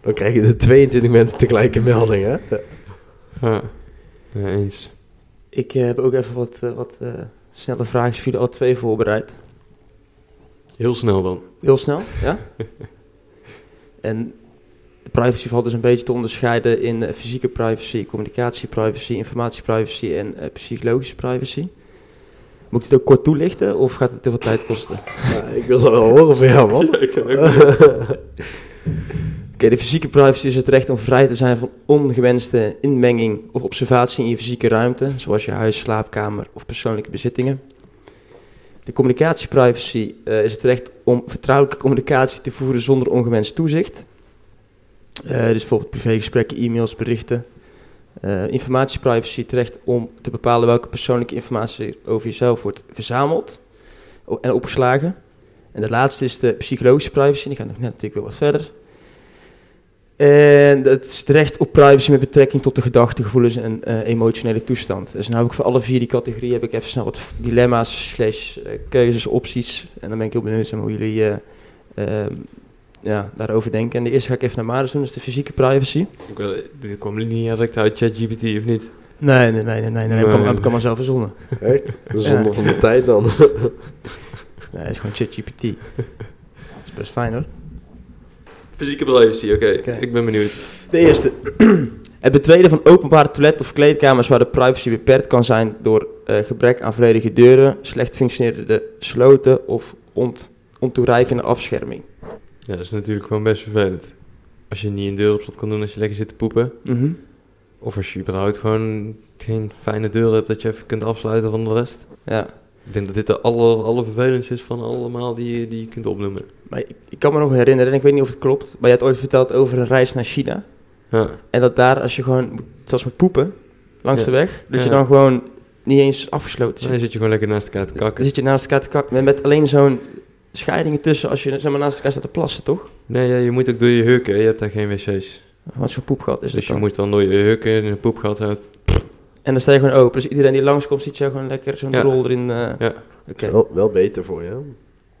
S3: Dan krijg je de 22 mensen tegelijk een melding hè?
S2: Ja. Ja, eens.
S1: Ik eh, heb ook even wat, eh, wat eh, snelle vragen voor jullie alle twee voorbereid.
S2: Heel snel dan.
S1: Heel snel, ja? en de privacy valt dus een beetje te onderscheiden in eh, fysieke privacy, communicatieprivacy, informatieprivacy en eh, psychologische privacy. Moet ik dit ook kort toelichten of gaat het te veel tijd kosten?
S3: Ja, Ah, ik wil dat wel horen van jou man.
S2: Ja, ik vind het ook leuk.
S3: Ja,
S1: Oké, de fysieke privacy is het recht om vrij te zijn van ongewenste inmenging of observatie in je fysieke ruimte, zoals je huis, slaapkamer of persoonlijke bezittingen. De communicatieprivacy eh, is het recht om vertrouwelijke communicatie te voeren zonder ongewenst toezicht. Eh, dus bijvoorbeeld privégesprekken, e-mails, berichten. Eh, informatieprivacy het recht om te bepalen welke persoonlijke informatie over jezelf wordt verzameld o- en opgeslagen. En de laatste is de psychologische privacy, die gaat nog net natuurlijk weer wat verder. En dat is het recht op privacy met betrekking tot de gedachten, gevoelens en eh, emotionele toestand. Dus nou heb ik voor alle vier die categorieën heb ik even snel wat dilemma's, slash eh, keuzes, opties. En dan ben ik heel benieuwd zeg maar, hoe jullie eh, ehm, ja, daarover denken. En de eerste ga ik even naar Marius doen, dat is de fysieke privacy.
S2: Ik wil- Dit kwam niet direct uit ChatGPT of niet?
S1: Nee, nee, nee, nee, nee, nee, heb ik
S2: Nee.
S1: al- heb ik allemaal zelf verzonnen.
S3: Echt? Zonder van de tijd dan.
S1: Nee, dat is gewoon ChatGPT. Dat is best fijn hoor.
S2: Fysieke privacy, oké.
S1: Oké.
S2: Ik ben benieuwd.
S1: De eerste. Het betreden van openbare toilet- of kleedkamers waar de privacy beperkt kan zijn door eh, gebrek aan volledige deuren, slecht functionerende sloten of ont ontoereikende afscherming.
S2: Ja, dat is natuurlijk gewoon best vervelend. Als je niet een deur op slot kan doen als je lekker zit te poepen. Of als je überhaupt gewoon geen fijne deur hebt dat je even kunt afsluiten van de rest.
S1: Ja.
S2: Ik denk dat dit de aller, allervervelendste is van allemaal die, je- die je kunt opnoemen.
S1: Maar ik, ik kan me nog herinneren, en ik weet niet of het klopt, maar je had ooit verteld over een reis naar China.
S2: Ja,
S1: En dat daar, als je gewoon, moet- zoals met poepen, langs
S2: Ja.
S1: de weg, dat je
S2: Ja.
S1: dan gewoon niet eens afgesloten zit.
S2: dan zit je gewoon lekker naast elkaar te
S1: Dan
S2: kakken.
S1: zit je naast elkaar te kakken met, met alleen zo'n scheidingen tussen als je zeg maar, naast elkaar staat te plassen, toch?
S2: Nee, ja, je moet ook door je hurken. hè. Je hebt daar geen wc's.
S1: Want zo'n poepgat is dat
S2: Dus je
S1: dan.
S2: moet dan door je hurken in een poepgat uit.
S1: En dan sta je gewoon open. Dus iedereen die langskomt ziet jou gewoon lekker zo'n
S2: Ja.
S1: rol erin. eh,
S2: Ja.
S1: Oké.
S3: Wel, wel beter voor je. hè?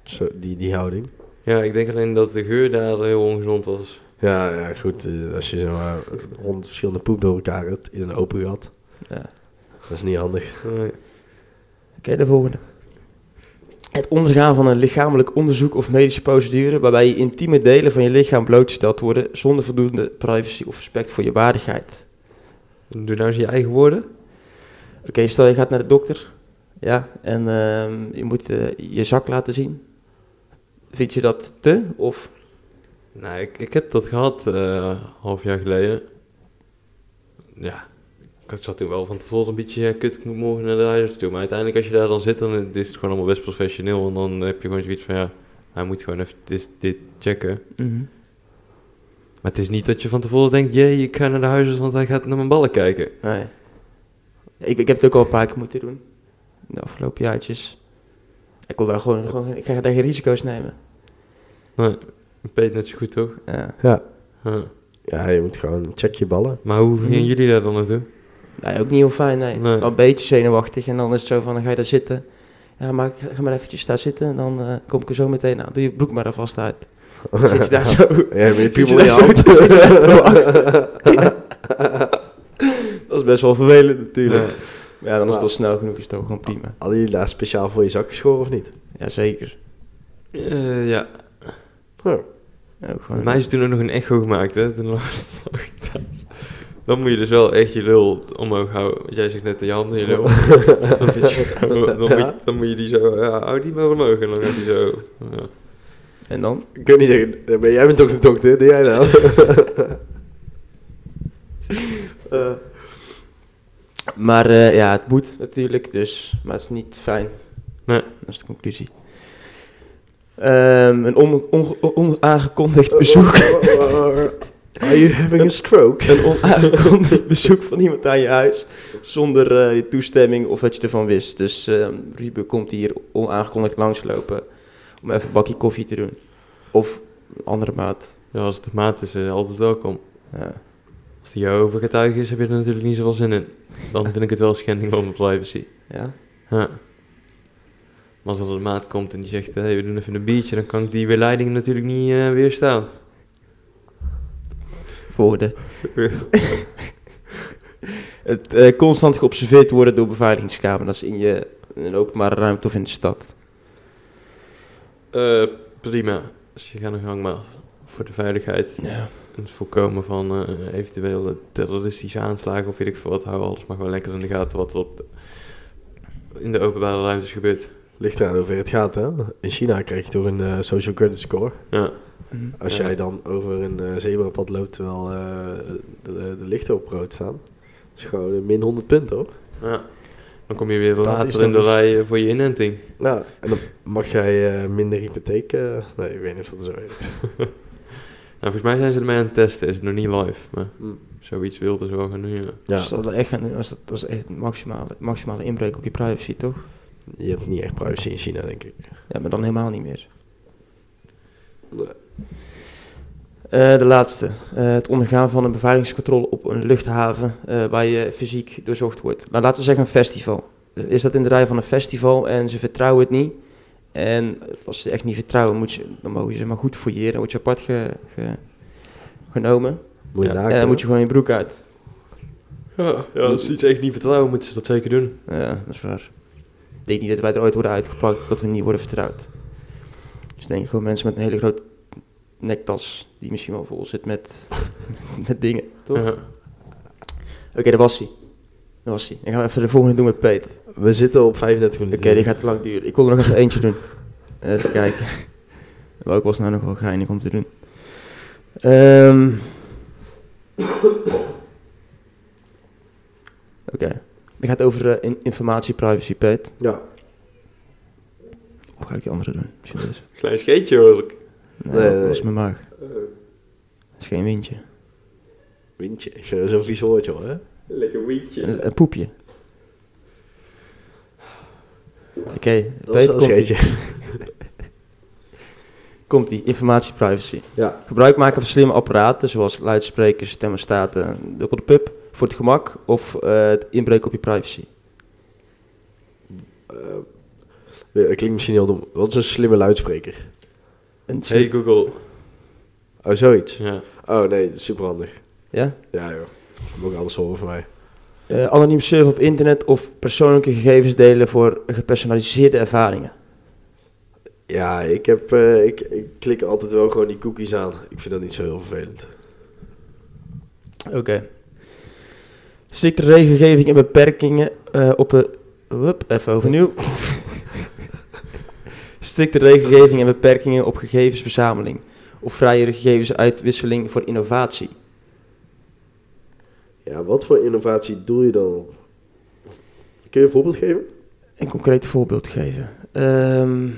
S3: Zo, die, die houding.
S2: Ja, ik denk alleen dat de geur daar heel ongezond was.
S3: Ja, ja goed. eh, als je zomaar honderd verschillende poep door elkaar hebt in een open gat.
S1: Ja.
S3: Dat is niet handig.
S2: Nee.
S1: Oké, de volgende. Het ondergaan van een lichamelijk onderzoek of medische procedure waarbij je intieme delen van je lichaam blootgesteld worden zonder voldoende privacy of respect voor je waardigheid.
S2: Doe nou eens je eigen woorden.
S1: Oké, stel je gaat naar de dokter. Ja, en ehm, je moet eh, je zak laten zien. Vind je dat te? Of
S2: Nou, ik, ik heb dat gehad eh half jaar geleden. Ja, ik zat toen wel van tevoren een beetje, ja, kut, ik moet morgen naar de huisarts toe. Maar uiteindelijk als je daar dan zit, dan eh, is het gewoon allemaal best professioneel. En dan heb je gewoon zoiets van, ja, hij moet gewoon even dit, dit checken. Maar het is niet dat je van tevoren denkt, jee, ik ga naar de huisarts, want hij gaat naar mijn ballen kijken.
S1: Nee. Ik, ik heb het ook al een paar keer moeten doen. De afgelopen jaartjes. Ik wil daar gewoon, gewoon ik ga daar geen risico's nemen.
S2: Nee, Peet net zo goed toch?
S1: Ja.
S3: Ja.
S2: Ja.
S3: ja, je moet gewoon check je ballen.
S2: Maar hoe gingen
S1: Mhm.
S2: jullie daar dan naartoe?
S1: Nee, ook niet heel fijn, nee.
S2: Nee.
S1: Wel een beetje zenuwachtig en dan is het zo van, dan ga je daar zitten. Ja, maar ga ga maar eventjes daar zitten en dan eh, kom ik er zo meteen aan. Doe je broek maar er vast uit. Dan zit je daar zo.
S3: Ja, met je
S1: zit je
S3: piemel in je
S1: daar zo-
S3: hand.
S1: zit je daar zo Dat is best wel vervelend natuurlijk.
S2: Ja.
S1: Ja, dan is het
S3: Maar-
S1: al snel genoeg, is het ook gewoon prima.
S3: Hadden jullie daar speciaal voor je zak geschoren of niet?
S1: Jazeker.
S2: Eh, ja.
S3: Oh.
S1: Ook gewoon...
S2: Bij mij is toen ook nog een echo gemaakt, hè? Toen lag lag ik thuis. Dan moet je dus wel echt je lul omhoog houden. Want jij zegt net je hand in je lul. dan, zit je gewoon- dan, moet, je- dan moet je die zo... Ja, hou die maar omhoog. En dan gaat die zo... Ja.
S1: En dan?
S3: Ik kan niet zeggen, eh, maar jij bent ook de dokter, doe jij nou? Eh,
S1: Maar eh, ja, het moet natuurlijk, dus. Maar het is niet fijn.
S2: Nee.
S1: Dat is de conclusie. Ehm, een onge- onge- onaangekondigd bezoek.
S3: Are you having a stroke?
S1: Een onaangekondigd bezoek van iemand aan je huis. Zonder eh, je toestemming of dat je ervan wist. Dus ehm Ruben komt hier onaangekondigd langslopen. Om even een bakje koffie te doen. Of een andere maat.
S2: ja, als het de maat is, eh, altijd welkom.
S1: Ja.
S2: Als die jouw overgetuige is, heb je er natuurlijk niet zoveel zin in. Dan vind ik het wel schending van mijn privacy.
S1: ja.
S2: Ja. Maar als er een maat komt en die zegt, hé, we doen even een biertje, dan kan ik die weerleiding natuurlijk niet eh, weerstaan.
S1: Volgende. Het eh, constant geobserveerd worden door beveiligingscamera's in je in een openbare ruimte of in de stad.
S2: Eh, prima. Dus je gaat nog gang maar. Voor de veiligheid.
S1: Ja.
S2: En het voorkomen van eh, eventuele terroristische aanslagen of weet ik veel wat. Hou alles maar gewoon lekker in de gaten wat er op de- in de openbare ruimtes gebeurt.
S3: Ligt eraan hoe ver het gaat, hè? In China krijg je toch een eh, social credit score.
S2: Ja.
S3: Als
S2: Ja.
S3: jij dan over een eh, zebrapad loopt terwijl eh, de, de lichten op rood staan. is gewoon een min 100 punten op.
S2: ja. Dan kom je weer
S3: Dat is
S2: later
S3: dan
S2: in de
S3: dus-
S2: rij eh, voor je inenting.
S3: Nou, en dan mag jij eh, minder hypotheek... eh, nee, ik weet niet of dat zo heet.
S2: Nou, volgens mij zijn ze ermee aan het testen. Is het nog niet live. Maar
S3: Hmm.
S2: zoiets wilden ze wel gaan doen. Ja.
S3: Ja,
S1: Dus dat, we echt, gaan doen, als dat, dat is echt een maximale, maximale inbreuk op je privacy, toch?
S3: je hebt niet echt privacy in China, denk ik.
S1: Ja, maar dan helemaal niet meer.
S3: Nee.
S1: Eh, de laatste. Eh, het ondergaan van een beveiligingscontrole op een luchthaven eh, waar je fysiek doorzocht wordt. Maar laten we zeggen een festival. Is dat in de rij van een festival en ze vertrouwen het niet? En als ze echt niet vertrouwen, moet je, dan mogen ze maar goed fouilleren. Dan word je apart ge- ge- genomen.
S3: Moet je
S2: Ja,
S1: en
S3: naakt,
S1: dan
S3: hè?
S1: moet je gewoon je broek uit.
S2: Ja, als ze iets echt niet vertrouwen, moeten ze dat zeker doen.
S1: Ja, dat is waar. Ik denk niet dat wij er ooit worden uitgepakt, dat we niet worden vertrouwd. Dus ik denk gewoon mensen met een hele grote nektas, die misschien wel vol zit met, met dingen, toch?
S2: Ja.
S1: Oké, daar was hij. Daar was hij. Ik ga even de volgende doen met Peet.
S3: We zitten op 35
S1: Oké,
S3: minuten.
S1: die gaat te lang duren. Ik wil er nog even eentje doen. Even kijken. Welk was nou nog wel geinig om te doen? Ehm. Oké. Het gaat over eh, in- informatieprivacy, Peet.
S3: Ja.
S1: Of ga ik die andere doen? Misschien deze.
S2: Klein scheetje hoor ik.
S1: Nee,
S3: Nee,
S1: dat
S3: nee.
S1: was mijn maag. Dat is geen windje.
S3: Windje. Ik vind dat Zo'n vies woordje, hoor. Hè?
S2: Lekker wietje.
S1: Een, een poepje. Oké, Peet,
S3: Dat is wel een
S1: komt
S3: scheetje.
S1: ie. Komt ie. Informatieprivacy.
S3: Ja.
S1: Gebruik maken van slimme apparaten zoals luidsprekers, thermostaten, dubbele pub voor het gemak of eh, het inbreken op je privacy.
S3: Eh, dat klinkt misschien heel dom. Wat is een slimme luidspreker?
S1: Een slim-
S2: Hey Google.
S3: Oh, zoiets.
S2: Ja.
S3: Oh, nee. Superhandig.
S1: ja?
S3: Ja, joh. Je Moet ik alles horen van mij.
S1: Eh, anoniem surfen op internet of persoonlijke gegevens delen voor gepersonaliseerde ervaringen.
S3: Ja, ik, heb, eh, ik, ik klik altijd wel gewoon die cookies aan. Ik vind dat niet zo heel vervelend.
S1: Oké. Strikte regelgeving en beperkingen eh, op een... Hup, even overnieuw. Strikte regelgeving en beperkingen op gegevensverzameling. Of vrije gegevensuitwisseling voor innovatie.
S3: Ja, wat voor innovatie doe je dan op? Kun je een voorbeeld geven?
S1: een concreet voorbeeld geven. Ehm,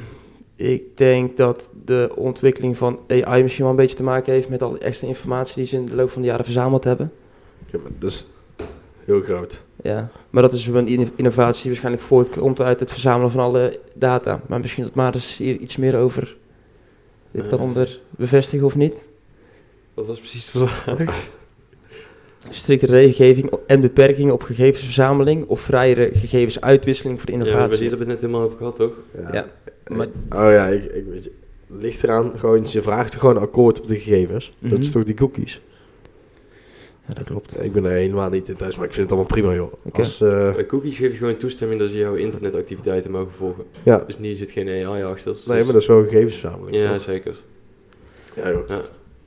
S1: ik denk dat de ontwikkeling van AI misschien wel een beetje te maken heeft met al die extra informatie die ze in de loop van de jaren verzameld hebben.
S3: Ja, maar dat is dus Heel groot.
S1: Ja. Maar dat is een in- innovatie die waarschijnlijk voortkomt uit het verzamelen van alle data. Maar misschien dat Maris hier iets meer over dit kan
S2: Eh.
S1: onder bevestigen of niet.
S2: Wat was precies de vraag?
S1: Strikte regelgeving en beperkingen op gegevensverzameling of vrijere gegevensuitwisseling voor
S2: Ja, maar
S1: innovatie.
S2: die hebben we het net helemaal over gehad, toch?
S1: Ja, maar-
S3: Oh ja, ik, ik weet je. Ligt eraan, gewoon, je vraagt gewoon akkoord op de gegevens. Dat
S1: Mhm.
S3: is toch die cookies?
S1: Ja, dat klopt.
S3: Ik ben er helemaal niet in thuis, maar ik vind het allemaal prima, joh.
S1: Oké.
S3: Als, eh,
S2: Bij cookies geef je gewoon toestemming dat ze jouw internetactiviteiten mogen volgen.
S3: ja.
S2: Dus hier zit geen AI achter. Dus-
S3: Nee, maar dat is wel een gegevensverzameling,
S2: Ja,
S3: toch?
S2: zeker.
S3: Ja, joh.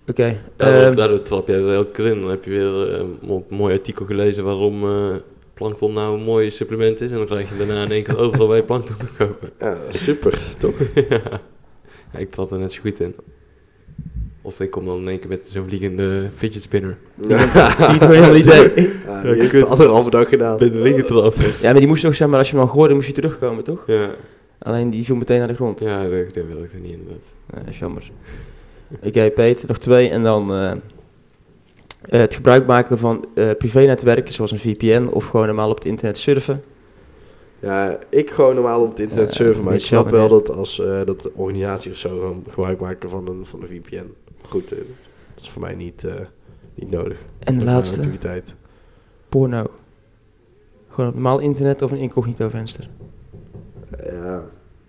S1: Oké.
S2: Daardoor,
S1: ehm,
S2: daardoor trap jij er heel keer in. Dan heb je weer eh, een mo- mooi artikel gelezen waarom eh, plankton nou een mooi supplement is. En dan krijg je daarna in één keer overal bij plankton te kopen.
S3: Ja, super, toch?
S2: ja. ik trap er net zo goed in. Of ik kom dan in één keer met zo'n vliegende fidget spinner.
S1: die het gewoon helemaal niet deed.
S3: Ja, die heeft het anderhalve dag gedaan.
S2: Ben erin getrapt.
S1: Ja, maar die moest nog zeg maar, als je hem al hoorde, moest je terugkomen, toch?
S2: ja,
S1: Alleen die viel meteen naar de grond.
S2: ja dat, dat wil ik er niet in. Dat-
S1: Ja, dat is jammer. Oké, Peter, nog twee. En dan eh, eh, het gebruik maken van eh privé-netwerken, zoals een VPN, of gewoon normaal op het internet surfen.
S3: Ja, ik gewoon normaal op het internet
S1: Ja,
S3: surfen,
S1: dat
S3: maar ik
S1: moet je
S3: snap
S1: zelf
S3: wel dat als eh, dat de organisatie of zo gewoon gebruik maken van een, van een VPN. Goed, eh, dat is voor mij niet, eh, niet
S1: En
S3: nodig.
S1: de
S3: Voor mijn
S1: laatste,
S3: Activiteit.
S1: porno. Gewoon op normaal internet of een incognito venster.
S3: Ja,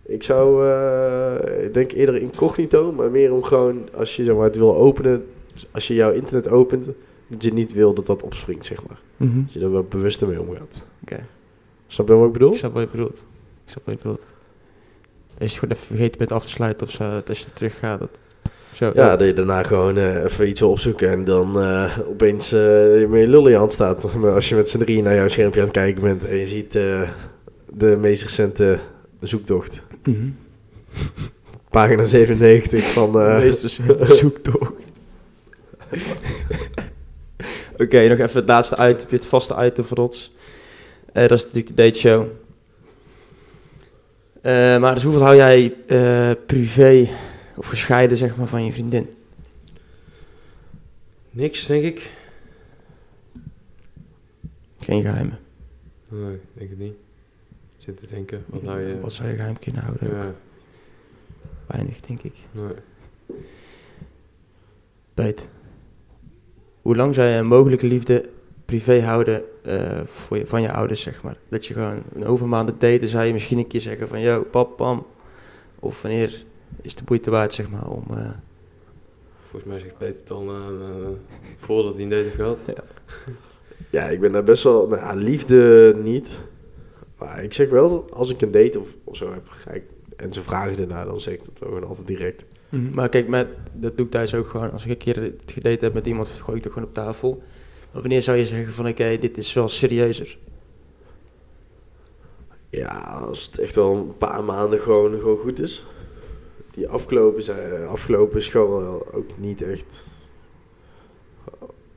S3: ik zou, eh, ik denk eerder incognito, maar meer om gewoon, als je zeg maar, het wil openen, als je jouw internet opent, dat je niet wil dat dat opspringt, zeg maar. Dat je er wel bewust mee omgaat.
S1: Oké.
S3: Snap je wat ik bedoel?
S1: Ik snap wat je bedoelt. Ik snap wat je bedoelt. Als je het gewoon even vergeten bent af te sluiten of zo, dat als je terug gaat. Dat... Zo,
S3: Ja,
S1: dat-
S3: dat je daarna gewoon eh, even iets wil opzoeken en dan eh, opeens eh, met je lul in je hand staat. Maar Als je met z'n drieën naar jouw schermpje aan het kijken bent en je ziet eh, de meest recente zoektocht.
S1: Mhm.
S3: Pagina 97 van... eh,
S1: De meest recente zoektocht. Oké, nog even het laatste item, het vaste item van ons. Eh, dat is natuurlijk de date show. Eh, maar dus hoeveel hou jij eh, privé of gescheiden zeg maar, van je vriendin?
S2: Niks, denk ik.
S1: Geen geheimen.
S2: Nee, denk het niet. Ik zit te denken. Wat nou je...
S1: Wat zou je geheim kunnen houden? ook?
S2: Ja,
S1: Weinig, denk ik.
S2: nee.
S1: Beet. Hoe lang zou je een mogelijke liefde privé houden eh, voor je, van je ouders, zeg maar? Dat je gewoon een overmaanden date, dan zou je misschien een keer zeggen van... Yo, pap, pam. Of wanneer is de moeite waard, zeg maar, om... eh,
S2: Volgens mij zegt Peter het al eh, eh, voordat hij een date heeft gehad.
S3: Ja, ik ben daar best wel... Nou, ja, liefde niet. Maar ik zeg wel, dat als ik een date of, of zo heb, ga ik, en ze vragen daarna, dan zeg ik dat ook altijd direct.
S1: Maar kijk, met, dat doe ik thuis ook gewoon. Als ik een keer gedate heb met iemand, gooi ik dat gewoon op tafel. Maar wanneer zou je zeggen van... Oké, dit is wel serieuzer?
S3: Ja, als het echt wel een paar maanden gewoon, gewoon goed is. Die afgelopen, zijn, afgelopen is gewoon wel ook niet echt.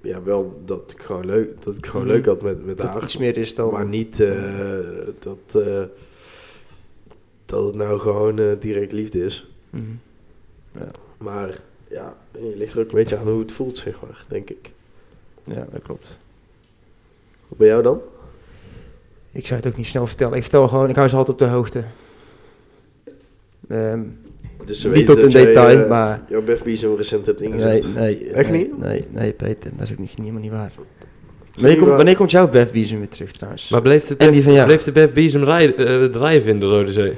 S3: Ja, wel dat ik gewoon leuk, dat ik gewoon
S1: Mhm.
S3: leuk had met, met
S1: Dat het
S3: haar.
S1: iets meer is dan...
S3: Maar niet eh, dat, eh, dat het nou gewoon eh, direct liefde is.
S1: Mhm.
S3: Maar ja, je ligt er ook een beetje aan hoe het voelt, zeg maar, denk ik.
S1: Ja, dat klopt.
S3: Wat bij jou dan?
S1: Ik zou het ook niet snel vertellen. Ik vertel gewoon, ik hou ze altijd op de hoogte. Ehm,
S3: Dus
S1: niet tot in detail, maar...
S3: eh, Jouw befbizem recent hebt ingezet.
S1: Nee, nee.
S3: Echt
S1: nee,
S3: niet?
S1: Nee, nee, Peter, dat is ook niet, helemaal niet waar. Wanneer
S3: Wanneer
S1: komt,
S3: komt-
S1: wanneer komt jouw Bev Biezen weer terug trouwens?
S2: Maar bleef de
S1: En die van jou.
S2: Bleef de Bad Bees hem rij- eh, drijven in de Rode Zee?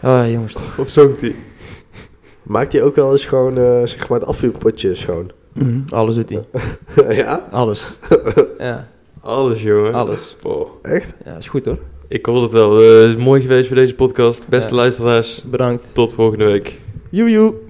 S1: Ah, jongens. toch.
S2: Of zonk die?
S3: Maakt hij ook wel eens gewoon, eh, zeg maar, het afvuurpotje schoon?
S1: Alles doet hij.
S3: ja?
S1: Alles. ja,
S2: Alles, jongen.
S1: alles.
S2: Oh.
S3: Echt?
S1: Ja, is goed hoor.
S2: Ik hoor het wel. Eh, het is mooi geweest voor deze podcast. Beste
S1: Ja.
S2: luisteraars,
S1: Bedankt.
S2: tot volgende week.
S1: Joe, joe.